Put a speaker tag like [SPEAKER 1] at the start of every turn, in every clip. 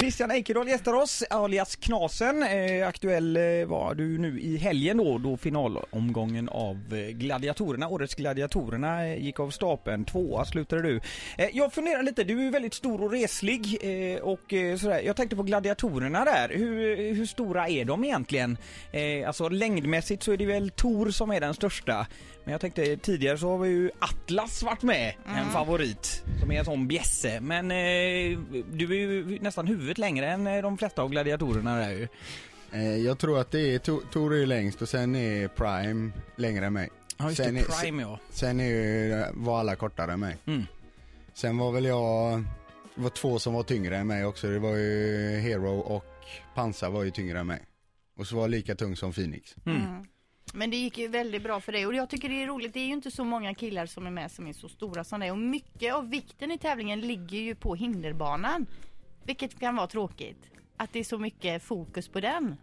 [SPEAKER 1] Christian Eikedal gästar oss, alias Knasen. Eh, aktuell eh, var du nu i helgen då, då finalomgången av eh, Gladiatorerna, årets Gladiatorerna, eh, gick av stapeln. Tvåa slutade du. Eh, jag funderar lite, du är ju väldigt stor och reslig eh, och eh, sådär. Jag tänkte på Gladiatorerna där. Hur, hur stora är de egentligen? Eh, alltså längdmässigt så är det väl Tor som är den största. Men jag tänkte tidigare så har vi ju Atlas varit med, en favorit som är en sån bjässe. Men eh, du är ju nästan huvudet längre än eh, de flesta av gladiatorerna där ju.
[SPEAKER 2] Eh, jag tror att det är, Tor- Tor är ju längst och sen är Prime längre än mig.
[SPEAKER 1] Ja just det,
[SPEAKER 2] sen, är-
[SPEAKER 1] Prime ja.
[SPEAKER 2] sen är ju, var alla kortare än mig.
[SPEAKER 1] Mm.
[SPEAKER 2] Sen var väl jag, det var två som var tyngre än mig också. Det var ju Hero och Pansar var ju tyngre än mig. Och så var jag lika tung som Phoenix.
[SPEAKER 3] Mm.
[SPEAKER 1] Mm.
[SPEAKER 3] Men det gick ju väldigt bra för dig och jag tycker det är roligt. Det är ju inte så många killar som är med som är så stora som dig och mycket av vikten i tävlingen ligger ju på hinderbanan. Vilket kan vara tråkigt. Att det är så mycket fokus på den.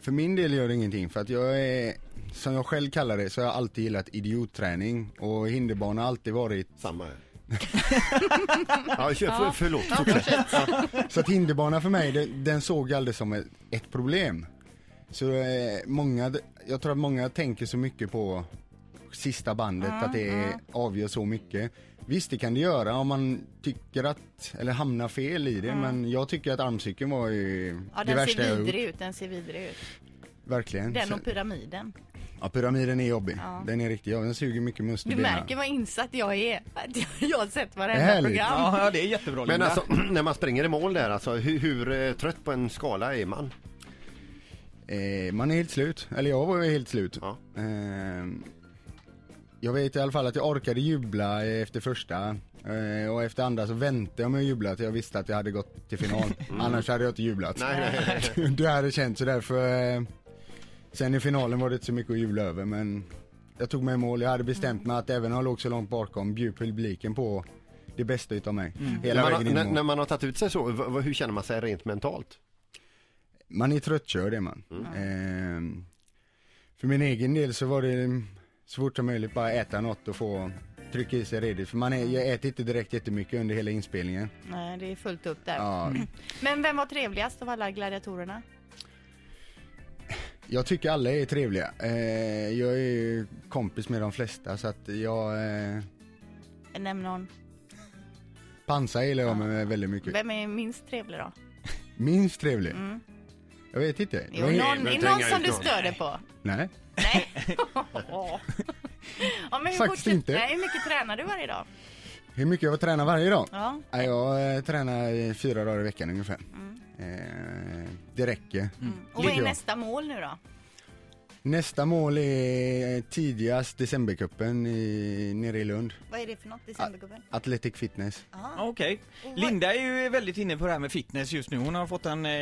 [SPEAKER 2] För min del gör det ingenting för att jag är, som jag själv kallar det, så har jag alltid gillat idiotträning. Och hinderbana har alltid varit
[SPEAKER 4] Samma här. ja, kör, för, förlåt,
[SPEAKER 3] Ja,
[SPEAKER 4] fortsätt.
[SPEAKER 2] Så att hinderbana för mig, den, den såg jag aldrig som ett, ett problem. Så eh, många, jag tror att många tänker så mycket på sista bandet, att det avgör så mycket. Visst, det kan det göra om man tycker att, eller hamnar fel i det, men jag tycker att armcykeln var ju
[SPEAKER 3] Ja,
[SPEAKER 2] det
[SPEAKER 3] den
[SPEAKER 2] värsta
[SPEAKER 3] ser
[SPEAKER 2] jag
[SPEAKER 3] vidrig
[SPEAKER 2] gjort. Mm.
[SPEAKER 3] ut. Den ser vidrig ut.
[SPEAKER 2] Verkligen.
[SPEAKER 3] Den
[SPEAKER 2] Så-
[SPEAKER 3] och pyramiden.
[SPEAKER 2] ja, pyramiden är jobbig.
[SPEAKER 3] Ja.
[SPEAKER 2] Den är riktigt jobbig, den suger mycket must i
[SPEAKER 3] Du
[SPEAKER 2] benen.
[SPEAKER 3] märker vad insatt jag är. Att jag- Jag har sett
[SPEAKER 2] Det är
[SPEAKER 3] varenda
[SPEAKER 2] härligt.
[SPEAKER 3] program.
[SPEAKER 1] Ja, ja, det är jättebra
[SPEAKER 4] Men
[SPEAKER 1] Linda.
[SPEAKER 4] alltså, när man springer i mål där, alltså, hur, hur eh, trött på en skala är man?
[SPEAKER 2] Eh, man är helt slut, eller jag var ju helt slut.
[SPEAKER 4] Ja.
[SPEAKER 2] Ehm, jag vet i alla fall att jag orkade jubla eh, efter första eh, och efter andra så väntade jag med att jubla till jag visste att jag hade gått till final. Annars hade jag inte jublat.
[SPEAKER 4] Nej, nej, nej.
[SPEAKER 2] det hade känts så därför. Eh, sen i finalen var det inte så mycket att jubla över men jag tog mig i mål. Jag hade bestämt mig att även om jag låg så långt bakom bjöd publiken på det bästa utav mig. Hela
[SPEAKER 4] När man,
[SPEAKER 2] vägen in i
[SPEAKER 4] har- när, när
[SPEAKER 2] mål.
[SPEAKER 4] man har tagit ut sig så, v- v- hur känner man sig rent mentalt?
[SPEAKER 2] Man är tröttkörd är man. Ehm, för min egen del så var det mm, så fort som möjligt bara äta något och få trycka i sig redigt. För man är, jag äter inte direkt jättemycket under hela inspelningen.
[SPEAKER 3] Nej, det är fullt upp där.
[SPEAKER 2] Ja,
[SPEAKER 3] Men vem var trevligast av alla gladiatorerna?
[SPEAKER 2] jag tycker alla är trevliga. Ehm, jag är ju kompis med de flesta så att jag... Eh,
[SPEAKER 3] Nämn någon.
[SPEAKER 2] pansar gillar jag med väldigt mycket.
[SPEAKER 3] Vem är minst trevlig då?
[SPEAKER 2] Minst trevlig? Jag vet inte.
[SPEAKER 3] Jo,
[SPEAKER 2] Men-
[SPEAKER 3] någon,
[SPEAKER 4] men
[SPEAKER 3] är
[SPEAKER 4] tänk
[SPEAKER 3] någon
[SPEAKER 4] ut
[SPEAKER 3] som du
[SPEAKER 4] någon.
[SPEAKER 3] stör dig på?
[SPEAKER 2] Nej.
[SPEAKER 3] Nej. ja, men hur
[SPEAKER 2] Faktiskt
[SPEAKER 3] fort-
[SPEAKER 2] inte.
[SPEAKER 3] Nej, hur mycket tränar du varje dag?
[SPEAKER 2] Hur mycket jag tränar varje dag?
[SPEAKER 3] Ja.
[SPEAKER 2] Ja, Jag eh, tränar eh, fyra dagar i veckan ungefär. Eh, det räcker.
[SPEAKER 3] Mm.
[SPEAKER 4] Mm.
[SPEAKER 3] Och vad
[SPEAKER 2] Tycker
[SPEAKER 3] är
[SPEAKER 2] jag.
[SPEAKER 3] nästa mål nu då?
[SPEAKER 2] Nästa mål är eh, tidigast decembercupen i, nere i Lund.
[SPEAKER 3] Vad är det för något, decembergubben?
[SPEAKER 2] Athletic fitness.
[SPEAKER 1] Ja, Okej.
[SPEAKER 3] Mm.
[SPEAKER 1] Linda är ju väldigt inne på det här med fitness just nu. Hon har fått en... Eh,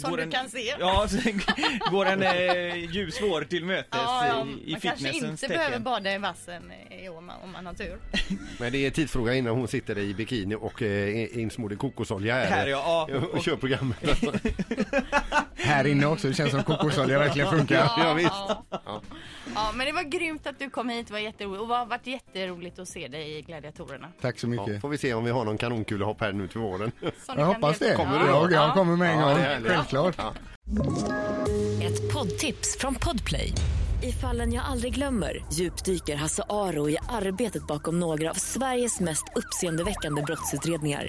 [SPEAKER 3] Som
[SPEAKER 1] går
[SPEAKER 3] du
[SPEAKER 1] en,
[SPEAKER 3] kan se.
[SPEAKER 1] Ja, så går en eh, ljus vår till mötes
[SPEAKER 3] Ja,
[SPEAKER 1] i, i
[SPEAKER 3] man kanske inte
[SPEAKER 1] fitnessens
[SPEAKER 3] behöver
[SPEAKER 1] tecken.
[SPEAKER 3] bada i vassen i år om man- om man har tur.
[SPEAKER 4] Men det är tidsfråga innan hon sitter i bikini och eh, insmord i kokosolja här,
[SPEAKER 1] Här, ja, ja.
[SPEAKER 4] och, och kör programmet.
[SPEAKER 2] Här inne också, det känns som kokosolja verkligen funkar.
[SPEAKER 4] ja, visst.
[SPEAKER 3] Ja. ja, men det var grymt att du kom hit. Det var jätteroligt. Och det har varit jätteroligt att se dig i Gladiatorerna.
[SPEAKER 2] Tack så
[SPEAKER 4] Ja,
[SPEAKER 2] mycket.
[SPEAKER 4] får vi se om vi har någon kanonkulhopp här nu till våren.
[SPEAKER 3] Som
[SPEAKER 2] Jag
[SPEAKER 3] du kan
[SPEAKER 2] hoppas det.
[SPEAKER 3] delta-
[SPEAKER 4] Kommer du då?
[SPEAKER 2] jag, jag
[SPEAKER 3] Ja.
[SPEAKER 2] kommer med en
[SPEAKER 4] Ja,
[SPEAKER 2] gång,
[SPEAKER 4] det är härligt.
[SPEAKER 2] självklart.
[SPEAKER 4] Ja.
[SPEAKER 5] Ett poddtips från Podplay. I fallen jag aldrig glömmer djupdyker Hasse Aro i arbetet bakom några av Sveriges mest uppseendeväckande brottsutredningar.